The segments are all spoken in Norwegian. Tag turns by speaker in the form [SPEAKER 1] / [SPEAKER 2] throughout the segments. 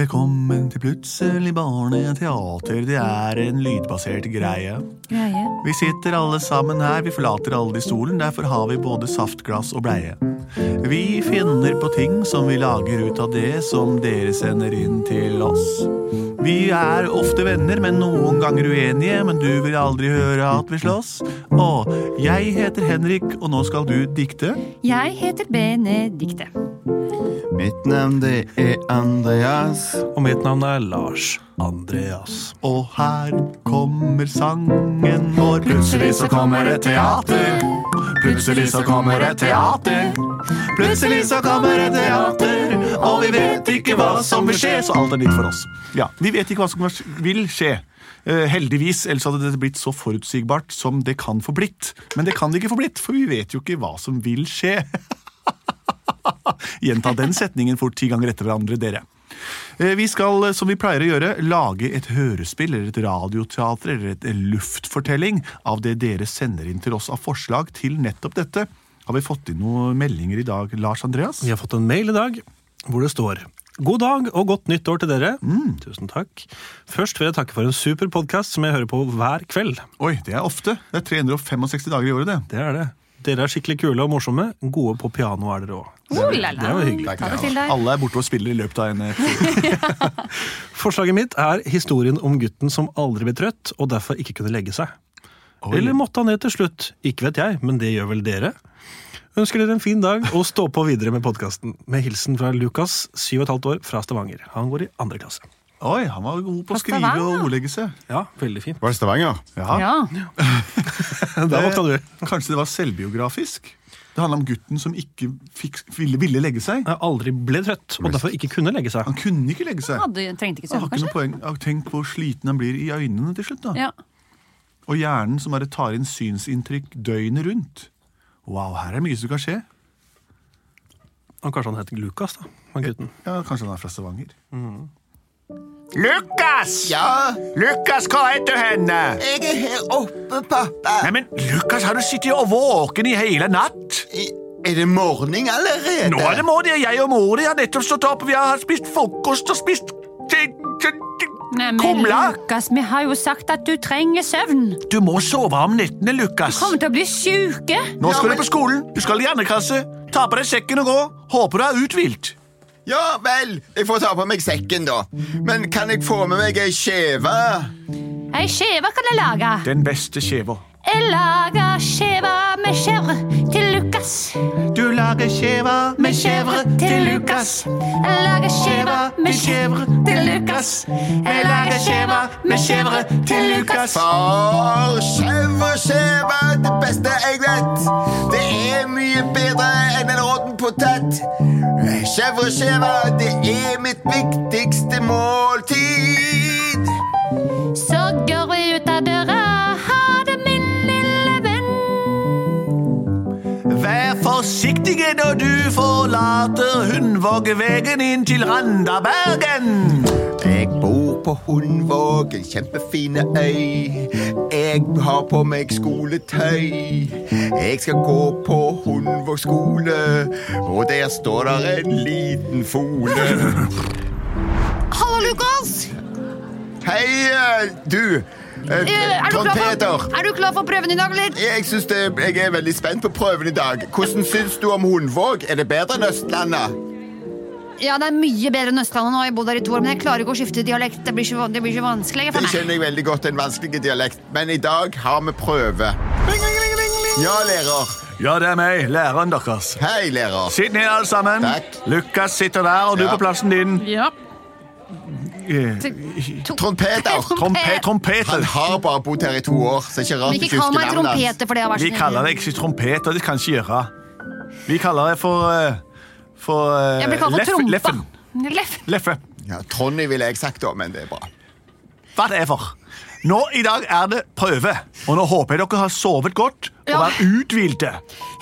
[SPEAKER 1] Velkommen til Plutselig barneteater. Det er en lydbasert greie.
[SPEAKER 2] Greie.
[SPEAKER 1] Vi sitter alle sammen her, vi forlater aldri stolen, derfor har vi både saftglass og bleie. Vi finner på ting som vi lager ut av det som dere sender inn til oss. Vi er ofte venner, men noen ganger uenige, men du vil aldri høre at vi slåss. Og jeg heter Henrik, og nå skal du dikte.
[SPEAKER 2] Jeg heter Benedikte.
[SPEAKER 3] Mitt navn det er Andreas.
[SPEAKER 4] Og mitt navn er Lars Andreas.
[SPEAKER 1] Og her kommer sangen vår. Plutselig så kommer det teater. Plutselig så kommer det teater. Plutselig så kommer det teater. Og vi vet ikke hva som vil skje. Så alt er nytt for oss. Ja, Vi vet ikke hva som vil skje. Eh, heldigvis, ellers hadde dette blitt så forutsigbart som det kan få blitt. Men det kan det ikke få blitt, for vi vet jo ikke hva som vil skje. Gjenta den setningen fort ti ganger etter hverandre, dere. Eh, Vi skal, eh, som vi pleier å gjøre, lage et hørespill eller et radioteater eller et eh, luftfortelling av det dere sender inn til oss av forslag til nettopp dette. Har vi fått inn noen meldinger i dag, Lars Andreas?
[SPEAKER 4] Vi har fått en mail i dag hvor det står God dag og godt nytt år til dere. Tusen takk. Først vil jeg takke for en super podkast som jeg hører på hver kveld.
[SPEAKER 1] Oi, det er ofte. Det er 365 dager i året, det.
[SPEAKER 4] Det er det. Dere er skikkelig kule og morsomme. Gode på piano er dere òg.
[SPEAKER 2] Oh, la,
[SPEAKER 4] Det var hyggelig.
[SPEAKER 2] Ta det til deg.
[SPEAKER 1] Alle er borte og spiller i løpet av en eh, tid.
[SPEAKER 4] Forslaget mitt er historien om gutten som aldri ble trøtt, og derfor ikke kunne legge seg. Eller måtte han ned til slutt? Ikke vet jeg, men det gjør vel dere. Ønsker dere en fin dag, og stå på videre med podkasten. Med hilsen fra Lukas, 7,5 år, fra Stavanger. Han går i andre klasse.
[SPEAKER 1] Oi, han var god på å
[SPEAKER 2] Fra
[SPEAKER 1] skrive
[SPEAKER 2] Stavanger,
[SPEAKER 1] og
[SPEAKER 2] ja.
[SPEAKER 1] ordlegge seg.
[SPEAKER 4] Ja, veldig fint.
[SPEAKER 3] Var det Stavanger?
[SPEAKER 2] Ja.
[SPEAKER 4] Der våkna du.
[SPEAKER 1] Eh, Kanskje det var selvbiografisk? Det handla om gutten som ikke fikk, ville, ville legge seg.
[SPEAKER 4] Jeg aldri ble trøtt, og derfor ikke kunne legge seg.
[SPEAKER 1] Han kunne ikke legge seg.
[SPEAKER 2] ja, du trengte ikke
[SPEAKER 1] Jeg har
[SPEAKER 2] søvn,
[SPEAKER 1] ikke noe
[SPEAKER 2] kanskje?
[SPEAKER 1] poeng. Ja, Tenk hvor sliten han blir i øynene til slutt. da.
[SPEAKER 2] Ja.
[SPEAKER 1] Og hjernen som bare tar inn synsinntrykk døgnet rundt. Wow, her er mye som kan skje.
[SPEAKER 4] Og kanskje han het Lukas, da. Han gutten.
[SPEAKER 1] Ja, Kanskje han er fra Stavanger.
[SPEAKER 5] Mhm. Lukas!
[SPEAKER 3] Ja,
[SPEAKER 5] Lukas, hva heter du henne?
[SPEAKER 3] jeg er her oppe, pappa.
[SPEAKER 5] Neimen, Lukas, har du sittet og våken i hele natt?
[SPEAKER 3] I- Er det morgen allerede?
[SPEAKER 5] Nå er det morgen, og jeg og mor de har nettopp stått opp, og vi har spist frokost og spist t- t- t-
[SPEAKER 2] Nei, men
[SPEAKER 5] kumle.
[SPEAKER 2] Lukas, vi har jo sagt at du trenger søvn.
[SPEAKER 5] Du må sove om nettene, Lukas.
[SPEAKER 2] Kommer til å bli syke.
[SPEAKER 5] Nå skal
[SPEAKER 3] Ja, men-
[SPEAKER 5] du på skolen, du skal i andre klasse. Ta på deg sekken og gå. Håper du er uthvilt.
[SPEAKER 3] Ja vel, jeg får ta på meg sekken, da. Men kan jeg få med meg ei skjeve?
[SPEAKER 2] Ei skjeve kan jeg lage.
[SPEAKER 5] Den beste skjeva.
[SPEAKER 2] Jeg lager skjeve med skjevre til Lukas.
[SPEAKER 1] Du lager skjeva
[SPEAKER 2] Med skjevre til Lukas. Jeg lager skjeve med skjevre til Lukas. Jeg lager skjeve med skjevre til Lukas.
[SPEAKER 3] For skjev og skjeve er det beste jeg vet. Det er mye bedre enn en råtten potet. Skjev og skjeve, det er mitt viktigste måltid.
[SPEAKER 2] Så går vi ut av døra. Ha det, min lille venn.
[SPEAKER 5] Vær forsiktige når du forlater Hundvågevegen inn til Randabergen.
[SPEAKER 3] Jeg bor på Hundvåg, en kjempefine øy. Jeg har på meg skoletøy. Jeg skal gå på Hundvåg skole, og der står der en liten fole.
[SPEAKER 2] Hallo, Lukas.
[SPEAKER 3] Hei, eh, du. eh,
[SPEAKER 2] Eh, Er du,
[SPEAKER 3] Trond
[SPEAKER 2] klar
[SPEAKER 3] Peder.
[SPEAKER 2] for, er du klar for prøven i dag, eller?
[SPEAKER 3] Jeg, synes det, jeg er veldig spent på prøven i dag. Hvordan syns du om Hundvåg? Er det bedre enn Østlandet?
[SPEAKER 2] Ja, det er mye bedre enn Østlandet nå. Jeg har bodd der i to år, men jeg klarer ikke å skifte dialekt. Det blir ikke, det blir ikke vanskelig
[SPEAKER 3] Det
[SPEAKER 2] for meg.
[SPEAKER 3] kjenner jeg veldig godt, en vanskelig dialekt. Men i dag har vi prøve. Ja, lærer.
[SPEAKER 5] Ja, det er meg, læreren deres.
[SPEAKER 3] Hei, lærer.
[SPEAKER 5] Sitt ned, alle sammen.
[SPEAKER 3] Takk.
[SPEAKER 5] Lukas sitter der, og du
[SPEAKER 3] Ja.
[SPEAKER 5] på plassen din.
[SPEAKER 2] Ja.
[SPEAKER 3] Trond Peder.
[SPEAKER 5] Trompe
[SPEAKER 3] Han
[SPEAKER 5] trompeter.
[SPEAKER 3] har bare bodd her i to år, så det er ikke rart
[SPEAKER 2] Men ikke kall meg trompeter, for det har vært
[SPEAKER 5] Vi kaller deg ikke trompeter, det kan ikke gjøre. Vi kaller deg for eh,
[SPEAKER 1] For eh,
[SPEAKER 2] Jeg blir kalt for
[SPEAKER 1] leff-
[SPEAKER 2] Trompa.
[SPEAKER 1] Leffen.
[SPEAKER 2] Leff.
[SPEAKER 1] Leffe.
[SPEAKER 3] Ja, Tronny ville jeg sagt, da, men det er bra.
[SPEAKER 1] Whatever. Nå i dag er det prøve, og nå håper jeg dere har sovet godt og
[SPEAKER 2] Ja.
[SPEAKER 1] er uthvilte.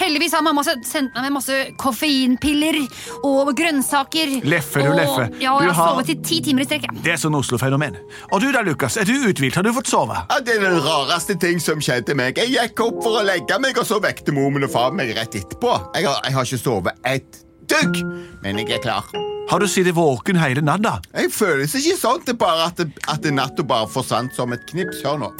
[SPEAKER 2] Heldigvis har mamma se- sendt meg med masse koffeinpiller og grønnsaker.
[SPEAKER 1] Leffe, du
[SPEAKER 2] og,
[SPEAKER 1] leffe.
[SPEAKER 2] Ja, og
[SPEAKER 1] Du
[SPEAKER 2] jeg har
[SPEAKER 1] har-
[SPEAKER 2] sovet i ti timer i strekk. jeg.
[SPEAKER 1] Det er sånn Oslo-fenomen. Og du da, Lukas, er du uthvilt? Har du fått sove?
[SPEAKER 3] Ja, Det er den rareste ting som skjedde meg. Jeg gikk opp for å legge meg, og så vekte mormen og far meg rett etterpå. Jeg har, jeg har ikke sovet et dugg, men jeg er klar.
[SPEAKER 1] Har du sittet våken hele natta?
[SPEAKER 3] Jeg føles ikke sånn, det er bare at, det- at det natta bare forsvant som et knips. Hør nå.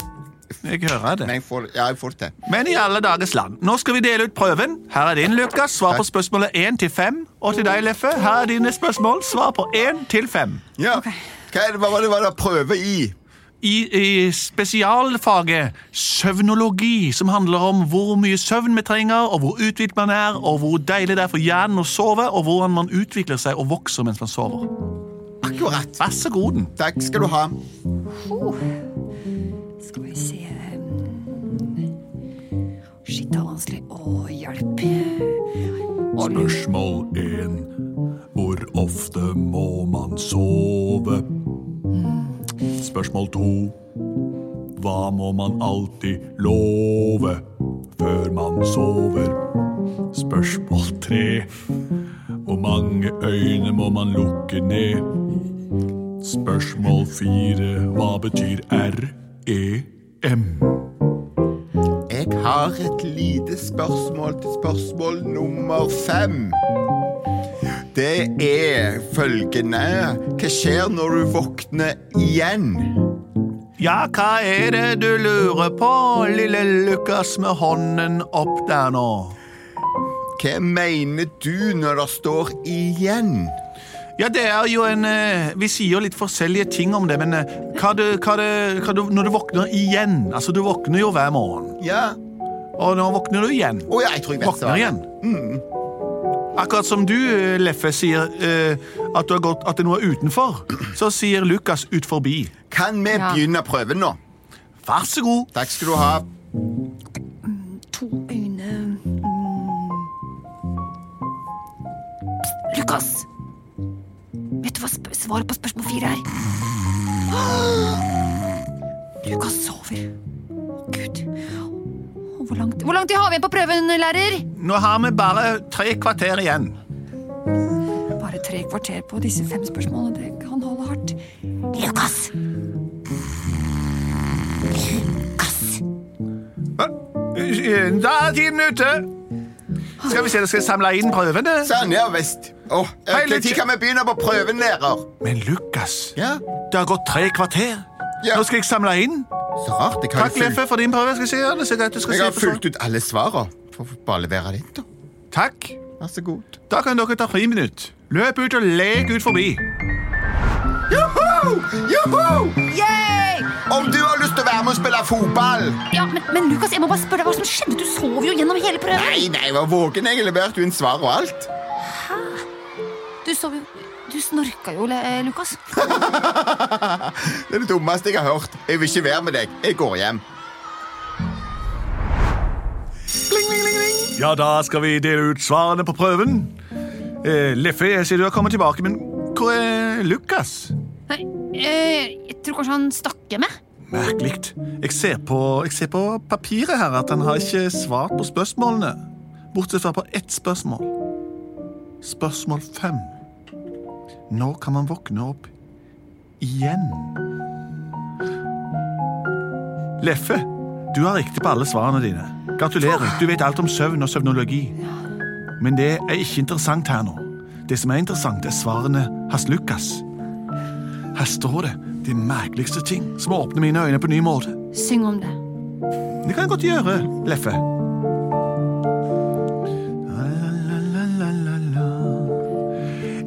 [SPEAKER 1] Jeg hører det.
[SPEAKER 3] Men jeg får, ja, jeg får det til.
[SPEAKER 1] Men i alle dagers land. Nå skal vi dele ut prøven. Her er din, Lukas. Svar på spørsmålet 1 til 5. Og til deg, Leffe, her er dine spørsmål. Svar på 1 til 5.
[SPEAKER 3] Ja. Hva, er det, hva var det hva var det prøve i?
[SPEAKER 1] I, I spesialfaget søvnologi, som handler om hvor mye søvn vi trenger, og hvor uthvilt man er, og hvor deilig det er for hjernen å sove, og hvordan man utvikler seg og vokser mens man sover.
[SPEAKER 3] Akkurat.
[SPEAKER 1] Vær så god.
[SPEAKER 3] Takk skal du ha.
[SPEAKER 2] Skal vi se Shit, det er vanskelig. Å, hjelp.
[SPEAKER 1] Spørsmål 1. Hvor ofte må man sove? Spørsmål 2. Hva må man alltid love før man sover? Spørsmål 3. Hvor mange øyne må man lukke ned? Spørsmål 4. Hva betyr E REM?
[SPEAKER 3] Jeg har et lite spørsmål til spørsmål nummer fem. Det er følgende Hva skjer når du våkner igjen?
[SPEAKER 1] Ja, hva er det du lurer på, lille Lukas med hånden opp der nå?
[SPEAKER 3] Hva mener du når det står 'igjen'?
[SPEAKER 1] Ja, det er jo en eh, Vi sier jo litt forskjellige ting om det, men eh, hva du, hva du, hva du, når du våkner igjen Altså, du våkner jo hver morgen,
[SPEAKER 3] Ja.
[SPEAKER 1] og nå våkner du igjen.
[SPEAKER 3] Å ja, jeg tror jeg vet
[SPEAKER 1] Våkner igjen. Mm. Akkurat som du, eh, Leffe, sier eh, at, du har gått, at det er noe utenfor, så sier Lukas ut forbi.
[SPEAKER 3] Kan vi
[SPEAKER 2] Ja.
[SPEAKER 3] begynne prøven nå?
[SPEAKER 1] Vær så god.
[SPEAKER 3] Takk skal du ha.
[SPEAKER 2] To øyne mm. Lukas! Vet du hva sp svaret på spørsmål fire er? Lukas sover. Å, Gud. Å, Hvor lang, hvor lang tid har vi igjen på prøven, lærer?
[SPEAKER 1] Nå har vi bare tre kvarter igjen.
[SPEAKER 2] Bare tre kvarter på disse fem spørsmålene. Det kan holde hardt. Lukas!
[SPEAKER 1] Eh, Da er tiden ute. Skal vi se, da skal jeg samle inn prøvene.
[SPEAKER 3] Sånn, ja visst. Å, eh,
[SPEAKER 1] Hei,
[SPEAKER 3] Når
[SPEAKER 1] Lukas.
[SPEAKER 3] kan vi begynne på prøven, lærer?
[SPEAKER 1] Men Lukas,
[SPEAKER 3] Ja.
[SPEAKER 1] det har gått tre kvarter.
[SPEAKER 3] Ja.
[SPEAKER 1] Nå skal jeg samle inn.
[SPEAKER 3] Så rart. Jeg har,
[SPEAKER 1] Takk,
[SPEAKER 3] jo fulgt,
[SPEAKER 1] Leffe, for din prøve. Skal jeg si, Anne, så greit du skal sånn.
[SPEAKER 3] jeg har
[SPEAKER 1] slippe for-
[SPEAKER 3] fulgt ut alle svarene. Får bare levere det inn, da.
[SPEAKER 1] Takk.
[SPEAKER 3] Vær så god.
[SPEAKER 1] Da kan dere ta friminutt. Løp ut og lek ut forbi.
[SPEAKER 3] Joho! Joho! Om du har lyst til å være med og spille fotball
[SPEAKER 2] Ja, men, men Lukas, jeg må bare spørre deg hva som skjedde. Du sov jo gjennom hele prøven.
[SPEAKER 3] Nei, nei, jeg var våken. Jeg leverte jo inn svar og alt.
[SPEAKER 2] Du sov jo Du snorka jo, Le- eh, Lukas.
[SPEAKER 3] Det er det dummeste jeg har hørt. Jeg vil ikke være med deg. Jeg går hjem.
[SPEAKER 1] Ja, da skal vi dele ut svarene på prøven. Eh, Leffe, jeg ser du har kommet tilbake, men hvor er Lukas?
[SPEAKER 2] Nei, eh, jeg tror kanskje han stakk med.
[SPEAKER 1] Merkelig. Jeg ser på, jeg ser på papiret her at han har ikke svart på spørsmålene. Bortsett fra på ett spørsmål. Spørsmål fem. Når kan man våkne opp igjen? Leffe, du har riktig på alle svarene dine. Gratulerer. Du vet alt om søvn og søvnologi. Men det er ikke interessant her nå. Det som er interessant, er svarene hans Lukas. Her står det de merkeligste ting som åpner mine øyne på ny måte.
[SPEAKER 2] Syng om det.
[SPEAKER 1] Det kan jeg godt gjøre, Leffe.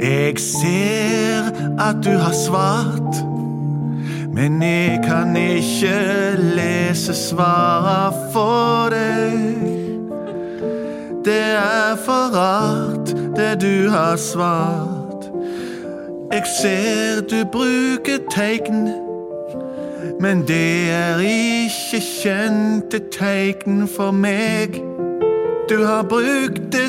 [SPEAKER 1] Jeg ser at du har svart, men jeg kan ikke lese svara for deg. Det er for rart, det du har svart. Jeg ser du bruker tegn. Men det er ikke kjente tegn for meg. Du har brukt det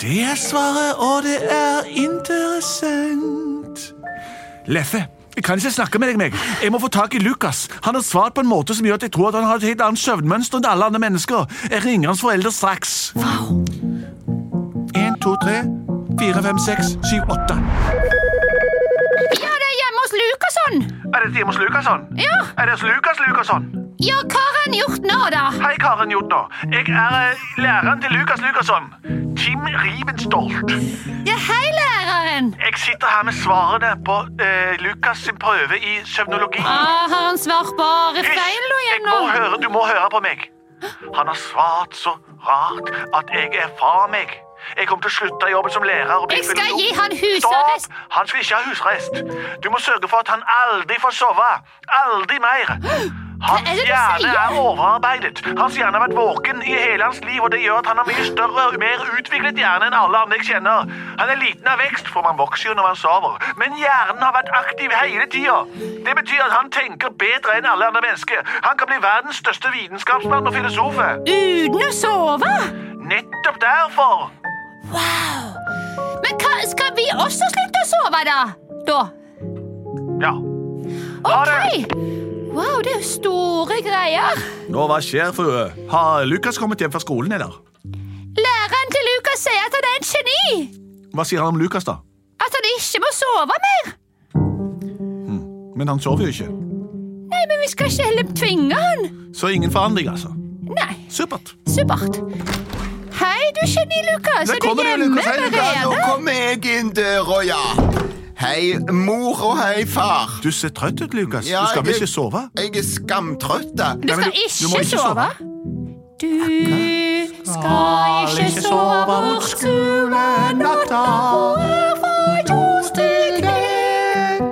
[SPEAKER 5] Det er svaret, og det er interessant.
[SPEAKER 1] Leffe, jeg kan ikke snakke med deg. meg. Jeg må få tak i Lukas. Han har svart på en måte som gjør at jeg tror at han har et helt annet søvnmønster enn alle andre mennesker. Jeg ringer hans foreldre straks. En, to, tre, fire, fem, seks, syv, åtte.
[SPEAKER 2] Ja, det er hjemme hos Lukasson.
[SPEAKER 1] Er det hjemme hos Lukasson?
[SPEAKER 2] Ja.
[SPEAKER 1] Er det hos Lukas Lukasson?
[SPEAKER 2] ja, hva har han gjort nå, da?
[SPEAKER 1] Hei, Karen Jodna. Jeg er eh, læreren til Lukas Lukasson. Tim Rivenstolt.
[SPEAKER 2] Ja, hei, læreren.
[SPEAKER 1] Jeg sitter her med svarene på eh, Lukas sin prøve i søvnologi.
[SPEAKER 2] Ah, har han svart bare feil nå
[SPEAKER 1] Jeg
[SPEAKER 2] igjen
[SPEAKER 1] må
[SPEAKER 2] Eh, nå?
[SPEAKER 1] høre, du må høre på meg. Han har svart så rart at jeg er fra meg. Jeg kommer til å slutte i jobben som lærer. Og bli
[SPEAKER 2] Jeg skal
[SPEAKER 1] filosof.
[SPEAKER 2] gi han husarrest.
[SPEAKER 1] Stopp! Han skal ikke ha husarrest. Du må sørge for at han aldri får sove. Aldri mer.
[SPEAKER 2] Hva
[SPEAKER 1] Hans
[SPEAKER 2] er det du
[SPEAKER 1] hjerne
[SPEAKER 2] sier?
[SPEAKER 1] er overarbeidet. Hans hjerne har vært våken i hele hans liv, og det gjør at han har mye større og mer utviklet hjerne enn alle andre jeg kjenner. Han er liten av vekst, for man vokser jo når man sover. Men hjernen har vært aktiv hele tida. Det betyr at han tenker bedre enn alle andre mennesker. Han kan bli verdens største vitenskapsmann og filosof.
[SPEAKER 2] Uten å sove?
[SPEAKER 1] Nettopp derfor.
[SPEAKER 2] Men hva, skal vi også slutte å sove, da? Da?
[SPEAKER 1] Ja. Ha det.
[SPEAKER 2] Ok. Wow, det er jo store greier.
[SPEAKER 1] Nå, hva skjer, frue? Har Lukas kommet hjem fra skolen, eller?
[SPEAKER 2] Læreren til Lukas sier at han er et geni.
[SPEAKER 1] Hva sier han om Lukas, da?
[SPEAKER 2] At han ikke må sove mer.
[SPEAKER 1] Men han sover jo ikke.
[SPEAKER 2] Nei, men vi skal ikke heller tvinge han.
[SPEAKER 1] Så ingen forandring, altså.
[SPEAKER 2] Nei,
[SPEAKER 1] Supert.
[SPEAKER 2] supert. Hei, du geni, Lukas.
[SPEAKER 1] Der
[SPEAKER 2] Er du
[SPEAKER 1] kommer du,
[SPEAKER 2] hjemme
[SPEAKER 1] Lukas. Hei, Lukas.
[SPEAKER 3] Ja, nå
[SPEAKER 2] allerede?
[SPEAKER 3] kommer jeg inn døra, ja. Hei, mor og hei, far.
[SPEAKER 1] Du ser trøtt ut, Lukas.
[SPEAKER 3] Ja,
[SPEAKER 1] du skal vel
[SPEAKER 3] jeg-
[SPEAKER 1] ikke sove?
[SPEAKER 3] Jeg er skamtrøtt. da.
[SPEAKER 2] Du
[SPEAKER 1] Nei, men
[SPEAKER 2] skal
[SPEAKER 1] du- du må
[SPEAKER 2] ikke
[SPEAKER 1] ikke
[SPEAKER 2] sove.
[SPEAKER 1] sove.
[SPEAKER 2] Du skal ikke sove bort skolen og ta fra jord til knær.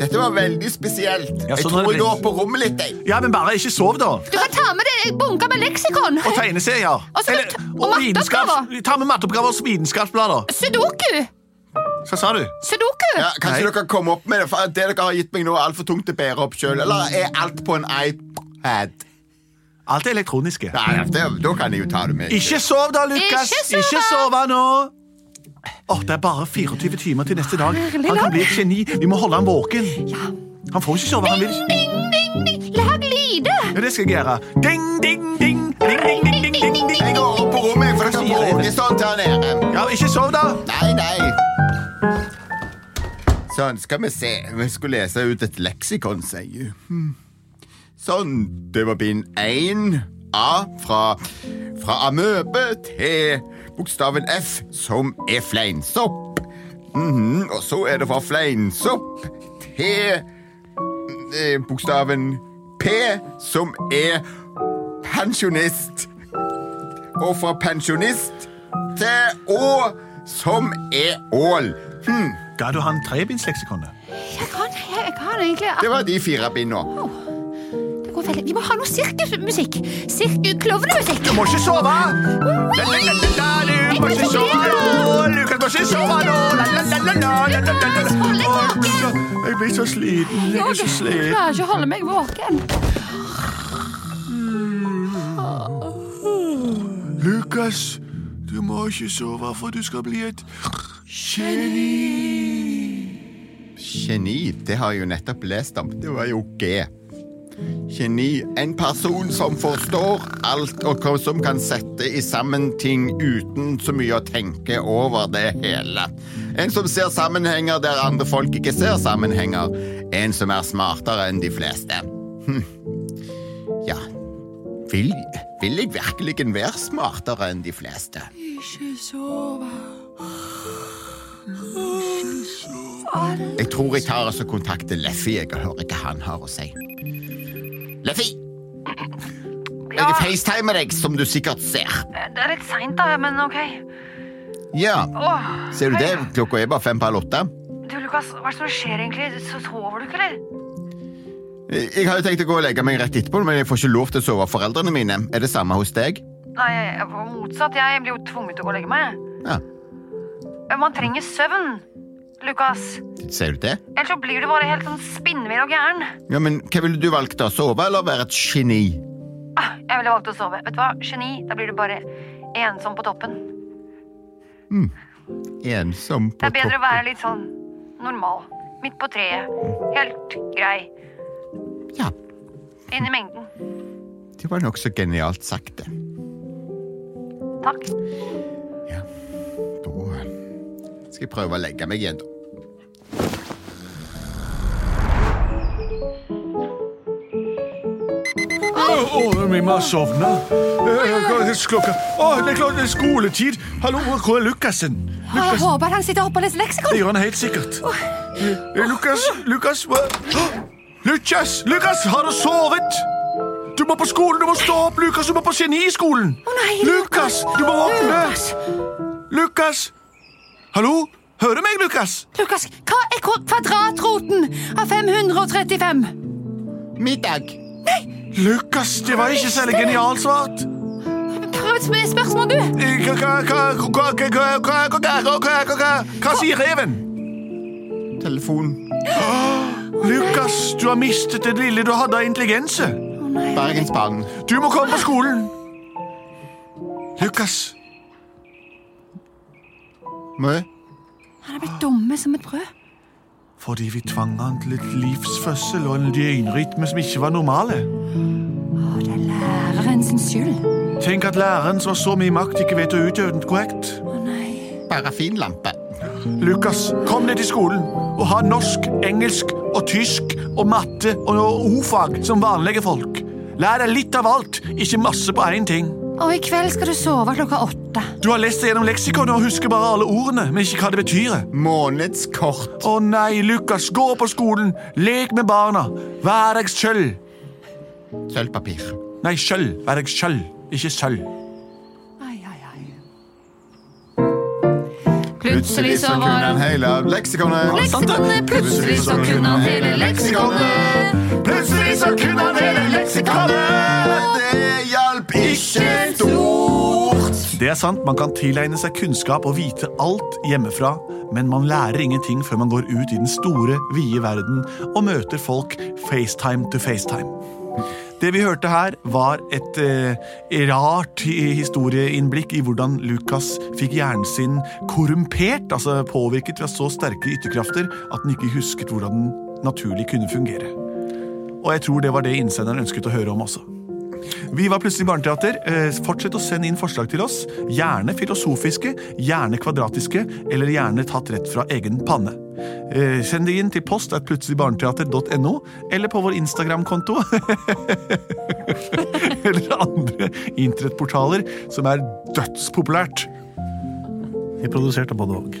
[SPEAKER 3] Dette var veldig spesielt.
[SPEAKER 1] Ja,
[SPEAKER 3] Jeg
[SPEAKER 1] sånn har
[SPEAKER 3] tror
[SPEAKER 1] det
[SPEAKER 3] jeg går
[SPEAKER 1] blitt.
[SPEAKER 3] på rommet litt. jeg.
[SPEAKER 1] Ja, men bare ikke sov, da.
[SPEAKER 2] Du kan ta med deg bunker med leksikon.
[SPEAKER 1] Og tegneserier.
[SPEAKER 2] Og så- og matteoppgaver.
[SPEAKER 1] Ta med matteoppgaver og vitenskapsblader.
[SPEAKER 2] Sudoku.
[SPEAKER 1] Hva sa du?
[SPEAKER 2] Sudoku.
[SPEAKER 3] Ja, kanskje
[SPEAKER 1] Nei.
[SPEAKER 3] dere kommer opp med det, for det dere har gitt meg nå, er altfor tungt å bære opp sjøl. Eller er alt på en iPad?
[SPEAKER 1] Alt er elektroniske.
[SPEAKER 3] Nei, det, da kan jeg jo ta det med.
[SPEAKER 1] Ikke sov, da, Lukas.
[SPEAKER 2] Ikke sove.
[SPEAKER 1] sove nå. Åh, Det er bare 24 timer til neste dag.
[SPEAKER 2] Herlig
[SPEAKER 1] Han kan
[SPEAKER 2] dag.
[SPEAKER 1] bli et geni. Vi må holde ham våken. Han får ikke sove. han vil ikke.
[SPEAKER 2] Ding, ding, ding. Lag lyder.
[SPEAKER 1] Ja, det skal jeg gjøre. Ding, ding, ding. ding, ding, ding, ding, ding, ding,
[SPEAKER 3] Jeg
[SPEAKER 1] ding.
[SPEAKER 3] går opp på rommet, for dere
[SPEAKER 1] Sier jeg
[SPEAKER 3] våger
[SPEAKER 1] det.
[SPEAKER 3] sånn der nede.
[SPEAKER 1] Ja, ikke sov, da.
[SPEAKER 3] Nei, nei. Sånn, skal vi se. Vi skulle lese ut et leksikon, sier jeg. Hmm. Sånn. Det var bind 1 A fra, fra amøbe til bokstaven F, som er fleinsopp. Mhm, Og så er det fra fleinsopp til eh, bokstaven P, som er pensjonist. Og fra pensjonist til Å, som er ål.
[SPEAKER 1] Ga du han trebindsleksikonet?
[SPEAKER 2] Jeg kan, jeg kan egentlig
[SPEAKER 3] Det var de fire bindene.
[SPEAKER 2] det går veldig. Vi må ha noe sirkusmusikk. Sirkus, klovnemusikk.
[SPEAKER 1] Du må ikke sove!
[SPEAKER 2] Oi!
[SPEAKER 1] Du må ikke sove nå! Lukas må ikke sove nå! La, la, la, la, la, la, la, la.
[SPEAKER 2] Hold deg
[SPEAKER 1] Åh,
[SPEAKER 2] våken!
[SPEAKER 1] så- Jeg blir så sliten. Jeg er så
[SPEAKER 2] Jeg
[SPEAKER 1] sliten.
[SPEAKER 2] klarer ikke å holde meg våken.
[SPEAKER 1] Lukas, du må ikke sove, for du skal bli et geni.
[SPEAKER 3] Geni, det har jeg jo nettopp lest om. Det var jo G. Geni. En person som forstår alt, og hva- som kan sette i sammen ting uten så mye å tenke over det hele. En som ser sammenhenger der andre folk ikke ser sammenhenger. En som er smartere enn de fleste. Hm. Ja Vil, vil jeg virkelig være smartere enn de fleste? Jeg tror jeg tar og kontakter Leffy jeg, og hører hva han har å si. Leffy! Jeg facetimer deg, som du sikkert ser.
[SPEAKER 6] Det er litt seint, da, men OK.
[SPEAKER 3] Ja,
[SPEAKER 6] Åh,
[SPEAKER 3] ser du
[SPEAKER 6] hei.
[SPEAKER 3] det? Klokka er bare fem på halv åtte.
[SPEAKER 6] Du, Lukas, hva er det som skjer egentlig? Så sover du ikke, eller?
[SPEAKER 3] Jeg jeg har jo tenkt å gå og legge meg rett etterpå, men jeg får ikke lov til å sove av foreldrene mine. Er det samme hos deg?
[SPEAKER 6] Nei, jeg jeg var motsatt. Jeg blir jo tvunget til å gå og legge meg.
[SPEAKER 3] Ja,
[SPEAKER 6] Men Man trenger søvn, Lukas.
[SPEAKER 3] ser du det?
[SPEAKER 6] Ellers så blir du bare helt sånn spinnvill og gæren.
[SPEAKER 3] Ja, men hva ville du valgt da? Sove eller være et geni?
[SPEAKER 6] Ah, Jeg ville valgt å sove. Vet du hva? Geni. Da blir du bare ensom på toppen.
[SPEAKER 3] Ensom på
[SPEAKER 6] Det er bedre å
[SPEAKER 3] toppen.
[SPEAKER 6] være litt sånn normal. Midt på treet. Helt grei.
[SPEAKER 3] Ja,
[SPEAKER 6] Inn i mengden.
[SPEAKER 3] det var nokså genialt sagt, det.
[SPEAKER 6] Takk.
[SPEAKER 3] Da skal jeg prøve å legge meg igjen, da.
[SPEAKER 1] Åh, åh, Mimma har sovna. Klokka Åh, det er klart det er skoletid. Hallo, hvor er Lukassen?
[SPEAKER 2] Jeg
[SPEAKER 1] Lukas,
[SPEAKER 2] håper han sitter oppe og leser leksikon.
[SPEAKER 1] det gjør han helt sikkert. Eh, Lukas, Lukas hva? Åh, Lukas, Lukas, har du sovet? Du må på skolen, du må stå opp, Lukas. Du må på geniskolen.
[SPEAKER 2] nei,
[SPEAKER 1] Lukas, du må våkne.
[SPEAKER 2] Lukas,
[SPEAKER 1] Lukas. Hallo? Hører du meg, Lukas?
[SPEAKER 2] Lukas, hva er kvadratroten av 535?
[SPEAKER 3] Middag!
[SPEAKER 1] Lukas, det var ikke særlig genialt svart.
[SPEAKER 2] Prøv et sp- spørsmål, du.
[SPEAKER 1] Eh, hva- hva- hva- hva- hva- hva- hva- hva- hva- hva- hva- Hva sier reven?
[SPEAKER 3] Telefon.
[SPEAKER 1] Lukas, du har mistet det lille du hadde av intelligense.
[SPEAKER 3] Bergensbanen.
[SPEAKER 1] Du må komme på skolen. Lukas,
[SPEAKER 3] Mø.
[SPEAKER 2] Han er blitt dumme som et brød.
[SPEAKER 1] fordi vi tvang han til et livsfødsel og en døgnrytme som ikke var normale.
[SPEAKER 2] Å, det er læreren sin skyld.
[SPEAKER 1] Tenk at læreren som har så mye makt, ikke vet å utøve den korrekt.
[SPEAKER 2] Å nei.
[SPEAKER 3] Parafinlampe.
[SPEAKER 1] Lukas, kom ned til skolen og ha norsk, engelsk og tysk og matte og ordfag som vanlige folk. Lær deg litt av alt, ikke masse på én ting.
[SPEAKER 2] Og i kveld skal du sove klokka åtte.
[SPEAKER 1] Du har lest deg gjennom leksikonet og husker bare alle ordene, men ikke hva det betyr.
[SPEAKER 3] Månedskort.
[SPEAKER 1] Å nei, Lukas, gå på skolen, lek med barna. Vær deg sjøl.
[SPEAKER 3] Sølvpapir.
[SPEAKER 1] Nei, sjøl. Vær deg sjøl, ikke sølv.
[SPEAKER 2] Ai, ai, ai.
[SPEAKER 3] Plutselig så var han hele leksikonet.
[SPEAKER 2] Leksikonet, plutselig så kunne han hele leksikonet.
[SPEAKER 3] Plutselig så kunne han hele leksikonet. Det hjalp ikke stort.
[SPEAKER 1] Det er sant, man kan tilegne seg kunnskap og vite alt hjemmefra, men man lærer ingenting før man går ut i den store, vide verden og møter folk FaceTime to FaceTime. Det vi hørte her, var et eh, rart hi- historieinnblikk i hvordan Lukas fikk hjernen sin korrumpert, altså påvirket ved så sterke ytterkrafter at den ikke husket hvordan den naturlig kunne fungere. Og jeg tror det var det innsenderen ønsket å høre om også. Vi var plutselig barneteater. Eh, Fortsett å sende inn forslag til oss. Gjerne filosofiske, gjerne kvadratiske, eller gjerne tatt rett fra egen panne. Eh, Send det inn til post at plutseligbarneteater.no, eller på vår Instagram-konto. eller andre internettportaler som er dødspopulært.
[SPEAKER 4] Vi produserte både og.